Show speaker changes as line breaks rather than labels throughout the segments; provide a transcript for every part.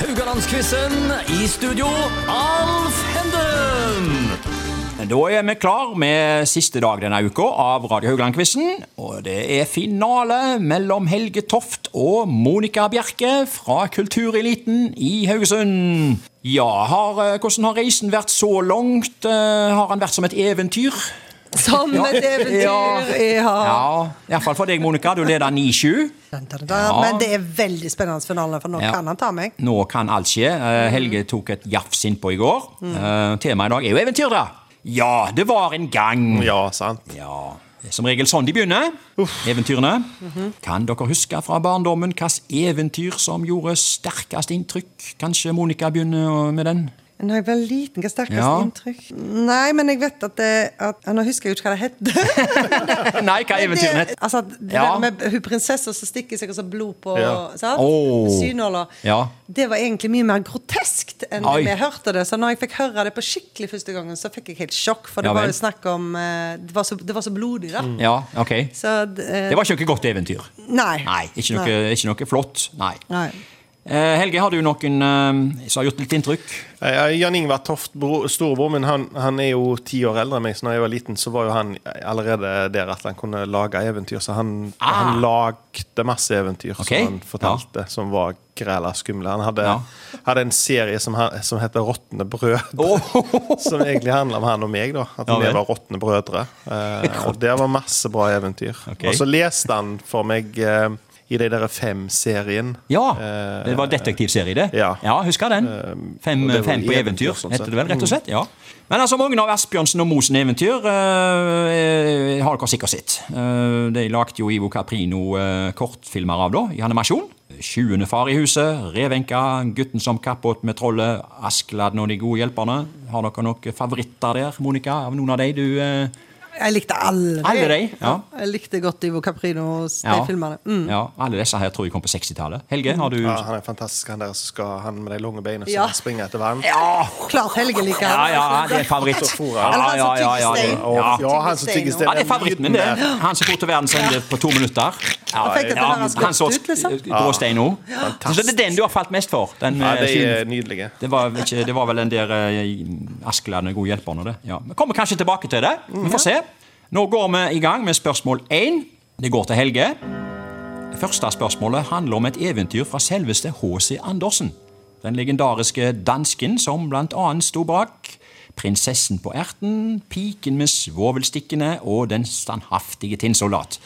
Haugalandsquizen. I studio, Alf Henden.
Da er vi klar med siste dag denne uka av Radio Haugland-quizen. Og det er finale mellom Helge Toft og Monica Bjerke fra Kultureliten i Haugesund. Ja, har, eh, hvordan har reisen vært så langt? Eh, Har han vært som et eventyr?
Som et eventyr, ja.
Ja, Iallfall for deg, Monica. Du leder 9-7.
Da, da, da. Men det er veldig spennende finale, for nå
Ja.
kan han ta meg.
Nå kan alt skje.
Mm.
Eh, Helge tok et jafs innpå i går. Eh, Temaet i dag er jo eventyr, da. Ja, det var en gang.
Ja, sant.
Ja, det er som regel sånn de begynner, eventyrene. Kan dere huske fra barndommen hvilket eventyr som gjorde sterkest inntrykk? Kanskje Monica begynner med den?
Når jeg var liten, hva sterkest
Ja.
inntrykk? Nei, men jeg vet at, det, at ja, Nå husker jeg jo ikke hva det het.
Nei, hva eventyrene het?
Det- Altså, det
Ja.
der med hun prinsessa som stikker seg og så blod på
Ja.
sant?
Åh.
synåler.
Ja.
Det var egentlig mye mer groteskt enn
Oi.
vi hørte det. Så når jeg fikk høre det på skikkelig første gangen, så fikk jeg helt sjokk. For det
Ja
var
vel. Mm.
jo snakk om eh, Det var så, det var så blodig, da.
Ja, ok.
Så eh,
Det var ikke noe godt eventyr.
Nei.
Nei, ikke noe,
Nei.
Ikke noe flott. Nei.
Nei.
Eh, Helge, har du noen eh, som har gjort litt inntrykk?
Eh, Jan Ingvar Toft, bro, storebror min, han, han er jo ti år eldre enn meg, så da jeg var liten, så var jo han allerede der at han kunne lage eventyr. Så han,
Ah.
han lagde masse eventyr
Ok.
som han fortalte, som var græla skumle. Han hadde,
Ja.
hadde en serie som, han, som heter Råtne brød, som egentlig handla om han og meg, da. At
Ja,
vi
vel.
var råtne brødre. Eh, og der var masse bra eventyr.
Ok.
Og så leste han for meg eh, i de derre fem-serien. Eh,
Ja, det var detektivserie, det.
ja. Eh,
ja husker den. Fem,
og det var
fem på
eventyr,
eventyr,
sånn
heter
sett.
det vel, rett og slett. ja. Men altså, mange av Asbjørnsen og Mosen eventyr eh, har dere sikkert sett. Eh, de lagde jo Ivo Caprino eh, kortfilmer av, da, i animasjon. 20. far i huset, Revenka, Gutten som kappåt med trollet, Askeladden og de gode hjelperne. Har dere noen favoritter der, Monica? Av noen av de du eh,
Jeg likte alle.
Alle de, ja.
Jeg likte godt Ivo Caprinos de
ja.
filmene. Mm.
ja. Alle disse her tror jeg kom på 60-tallet. Helge, har du
Ja, han er fantastisk, han der som skal Han med de lange beina som
Ja.
springer etter vann.
Ja!
Klart Helge liker
Ja,
han.
ja, det er favoritt.
Så for
Ja,
han.
ja, ja, ja, ja, det-
Og,
ja.
ja, han som tygger stein.
Ja, det er favoritten min, det. Han som fort til verdens ende sånn, eh, på to minutter. Ja,
Jeg fikk det til å være skutt
han så eh,
ut, liksom.
gråstein òg. Så det er den du har falt mest for? Den,
Ja,
eh,
de
filmen.
er nydelige.
det, var vel ikke, det var vel den der eh, Askeladden er god hjelper nå, det. Ja. Vi kommer kanskje tilbake til det. Vi får se. Nå går vi i gang med spørsmål én. Det går til Helge. Det første spørsmålet handler om et eventyr fra selveste H.C. Andersen. Den legendariske dansken som blant annet sto bak Prinsessen på erten, Piken med svovelstikkene og Den standhaftige tinnsoldat.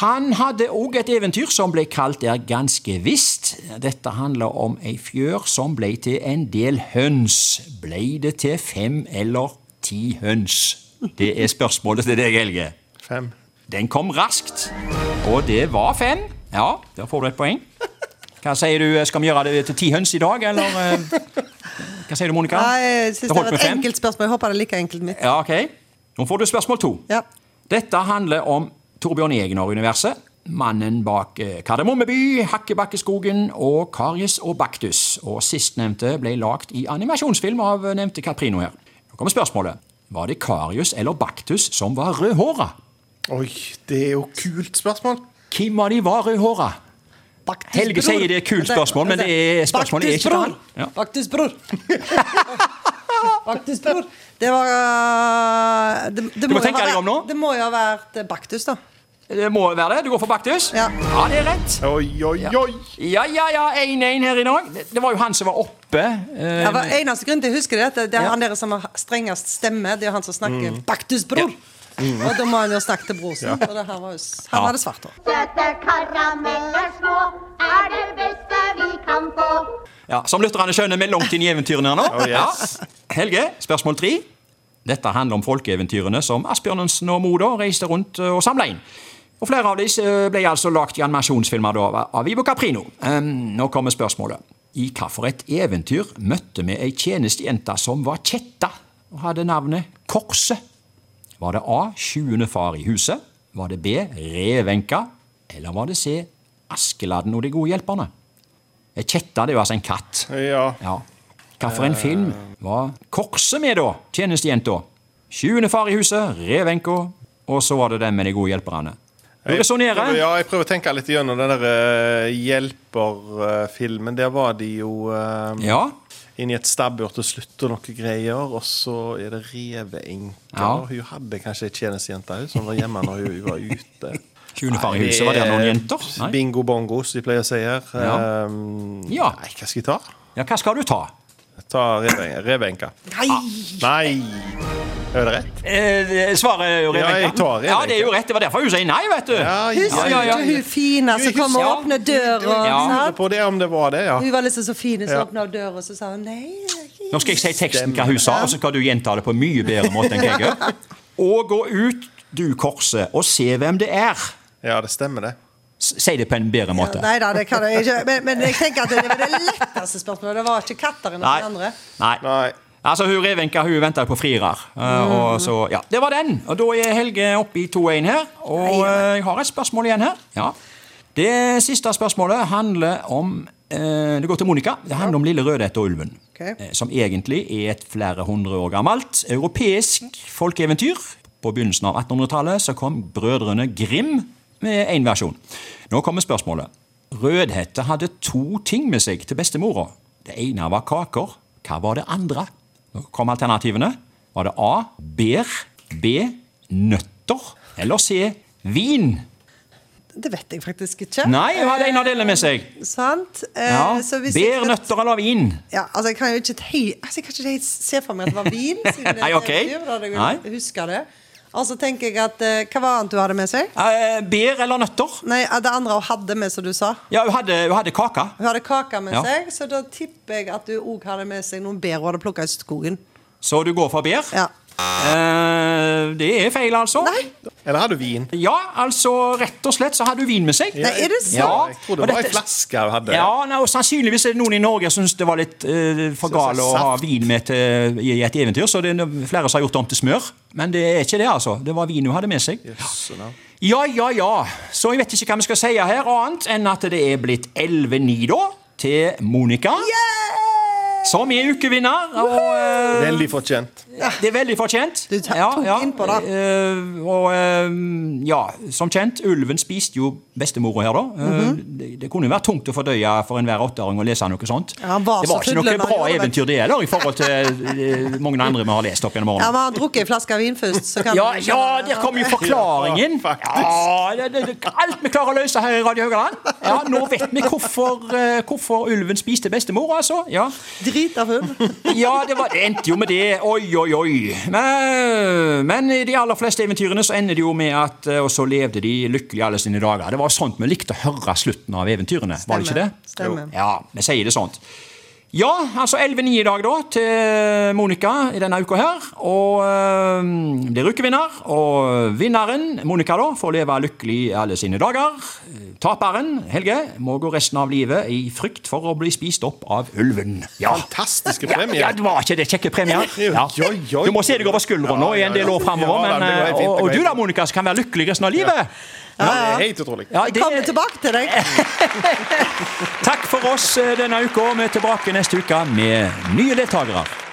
Han hadde òg et eventyr som ble kalt Der ganske visst. Dette handler om ei fjør som ble til en del høns. Ble det til fem eller ti høns? Det er spørsmålet til deg, Helge.
Fem.
Den kom raskt, og det var fem. Ja, der får du et poeng. Hva sier du, eh, skal vi gjøre det til ti høns i dag, eller eh, Hva sier du, Monica?
Nei, jeg synes det
holdt
var
med
et
fem?
enkelt spørsmål. Jeg håper det er like enkelt mitt.
Ja, ok. Nå får du spørsmål to.
Ja.
Dette handler om Torbjørn Egner-universet. Mannen bak eh, Kardemommeby, Hakkebakkeskogen og Karius og Baktus. Og sistnevnte ble lagt i animasjonsfilm av eh, nevnte Caprino her. Nå kommer spørsmålet. Var det Karius eller Baktus som var rødhåra?
Oi, det er jo kult spørsmål.
Hvem av de var rødhåra? Helge
bror.
sier det er et kult spørsmål, men det er spørsmålet er ikke til han. Ja.
Baktus bror. Baktus bror. Det var eh, det, det
Du må
jo
tenke
ha
deg om
vært-
nå.
Det må jo ha vært Baktus, da.
Det må være det. Du går for Baktus?
Ja.
ja det er rett.
Oi, oi, oi.
Ja, ja, ja. 1-1 her i dag. Det- Det var jo han som var oppe. eh,
Det var eneste grunn til jeg husker det, at det er han der som har strengest stemme. Det er han som snakker
Mm.
Baktus bror. Og da må han jo snakke til bror sin. Og det her var jo, s- han
Ja.
hadde svart hår.
Søte karameller små er det beste vi kan få.
Ja, som lytterne skjønner, vi er langt inn i eventyrene her nå.
Oh, yes.
ja. Helge, spørsmål tre. Dette handler om folkeeventyrene som Asbjørnensen og Moda reiste rundt eh, og samla inn. Og Flere av disse eh, ble altså lagt i animasjonsfilmer da, av Ivo Caprino. Ehm, nå kommer spørsmålet. I hvilket eventyr møtte vi ei tjenestejente som var kjetta og hadde navnet Korset? Var det A. Sjuende far i huset? Var det B. Revenka? Eller var det C. Askeladden og de gode hjelperne? Ei kjette det er jo altså en katt.
Ja.
Ja. Hva for en film var Korset med, da? Tjenestejenta. Sjuende far i huset, Revenka. Og så var det den med de gode hjelperne. Du resonnerer.
Ja, jeg prøver å tenke litt gjennom den der eh, hjelperfilmen. Der var de jo eh,
Ja.
inn i et stabbur til slutt og noen greier. Og så er det reveenker.
Ja.
Hun hadde kanskje ei tjenestejente hun, som var hjemme når hun var ute.
Tjunefar i huset, var det noen jenter? Nei.
eh, Bingo bongo, som de pleier å si her.
Ja.
Eh,
Ja.
Nei, hva skal jeg ta?
Ja, hva skal du ta?
Ta reve- reveenka.
Nei!
Nei! Er det rett?
Eh, svaret er jo rett.
Ja, jeg
Benka.
tar rett,
Ja, det er jo rett. Det var derfor hun sier nei, vet du.
Ja, ja,
Husker
ja, ja.
du hun fine som kom og
Ja.
åpnet døra?
Ja.
sant?
På det, om det var det, ja.
Hun var liksom så fin som
Ja.
åpna døra, og så sa hun nei. det er ikke-
Nå skal jeg si teksten hva hun sa, og så skal du gjenta det på en mye bedre måte enn jeg gjør. Og gå ut, du korset, og se hvem det er.
Ja, det stemmer, det.
S- Si det på en bedre måte.
Nei da, det kan jeg ikke. Men, men jeg tenker at det var det letteste spørsmålet. Det var ikke katter enn
Nei.
den andre.
Nei.
Nei.
Altså, hun Revenka hun venter jo på frirer. Eh, og så, ja, Det var den. Og Da er Helge oppe i 2-1 her. Og eh, jeg har et spørsmål igjen her. Ja. Det siste spørsmålet handler om eh, Det går til Monica. Det handler om Lille Rødhette og ulven.
Ok.
eh, Som egentlig er et flere hundre år gammelt europeisk folkeeventyr. På begynnelsen av 1800-tallet så kom brødrene Grim med én versjon. Nå kommer spørsmålet. Rødhette hadde to ting med seg til bestemora. Det ene var kaker. Hva var det andre? Nå kom alternativene. Var det A. Bær. B. Nøtter. Eller C. Vin.
Det vet jeg faktisk ikke.
Nei, hun hadde en av delene med seg.
Sant? Eh,
Ja.
så hvis jeg
Bær,
skal-
nøtter eller vin.
Ja, altså jeg kan jo ikke helt, altså jeg kan ikke helt se for meg at det var vin. siden det er
Nei, ok.
et eventyr, Da hadde
Nei.
jeg jo husket det. Og så tenker jeg at eh, Hva var annet du hadde med seg?
Eh, Bær eller nøtter?
Nei, Det andre hun hadde med, som du sa.
Ja, hun hadde, hun hadde kake.
Hun hadde kake med
Ja.
seg, så da tipper jeg at du òg hadde med seg noen bær hun hadde plukka i skogen.
Så du går for bær?
Ja.
Eh, det er feil, altså.
Nei,
Eller har du vin?
Ja, altså, rett og slett så hadde hun vin med seg.
Nei, er det sant?
Ja.
Jeg tror det
Og
var ei
dette-
flaske hun hadde.
Ja, nei, og Sannsynligvis er det noen i Norge som syns det var litt eh, for gale å ha vin med til, i et eventyr, så det er no- flere som har gjort det om til smør. Men det er ikke det, altså. Det var vin hun hadde med seg.
Så da-
Ja, ja, ja. Så jeg vet ikke hva vi skal si her, annet enn at det er blitt 11-9, da, til Monica. Som er ukevinner. Og eh,
Veldig fortjent.
det er veldig fortjent.
Du ta- tok innpå det.
Eh, og eh, ja, som kjent, ulven spiste jo bestemora her, da. Eh,
Mhm.
det, det kunne jo vært tungt å fordøye for enhver åtteåring å lese noe sånt.
Ja, han var
det var
så
ikke noe
fullønnet,
bra
han gjorde det.
eventyr, det heller, i forhold til eh, mange andre vi har lest opp gjennom
ja,
årene.
men han drukket en flaske vin først. Så kan
Ja,
vi-
ja, der kom jo forklaringen!
Ja, faktisk.
Ja, det, det, det, alt vi klarer å løse her i Radio Haugaland. Ja, nå vet vi hvorfor, eh, hvorfor ulven spiste bestemor, altså. Ja.
Drit av hund.
Ja, det, var, det endte jo med det. Oi, oi, oi. Men, men i de aller fleste eventyrene så ender det jo med at eh, Og så levde de lykkelig alle sine dager. Det var sånt vi likte å høre slutten av eventyrene. var det ikke det?
Stemmer.
Ja, vi sier det sånt. Ja, altså 11-9 i dag, da, til Monica i denne uka her. Og øh, blir ukevinner. Og vinneren, Monica, da, får leve lykkelig alle sine dager. Taperen, Helge, må gå resten av livet i frykt for å bli spist opp av ulven. Ja.
Fantastiske
Ja,
premier.
ja, det var ikke det kjekke premier. Ja.
Oi, oi, oi.
Du må se deg over skuldra nå i en del år framover.
Ja,
Men, eh,
det går helt fint,
og,
det går
og du
helt
da, Monica, som kan være lykkelig resten av livet.
Ja, det er helt utrolig.
Ja,
Jeg
det-
kommer tilbake til deg.
takk for oss eh, denne uka. Vi er tilbake neste uke med nye deltakere.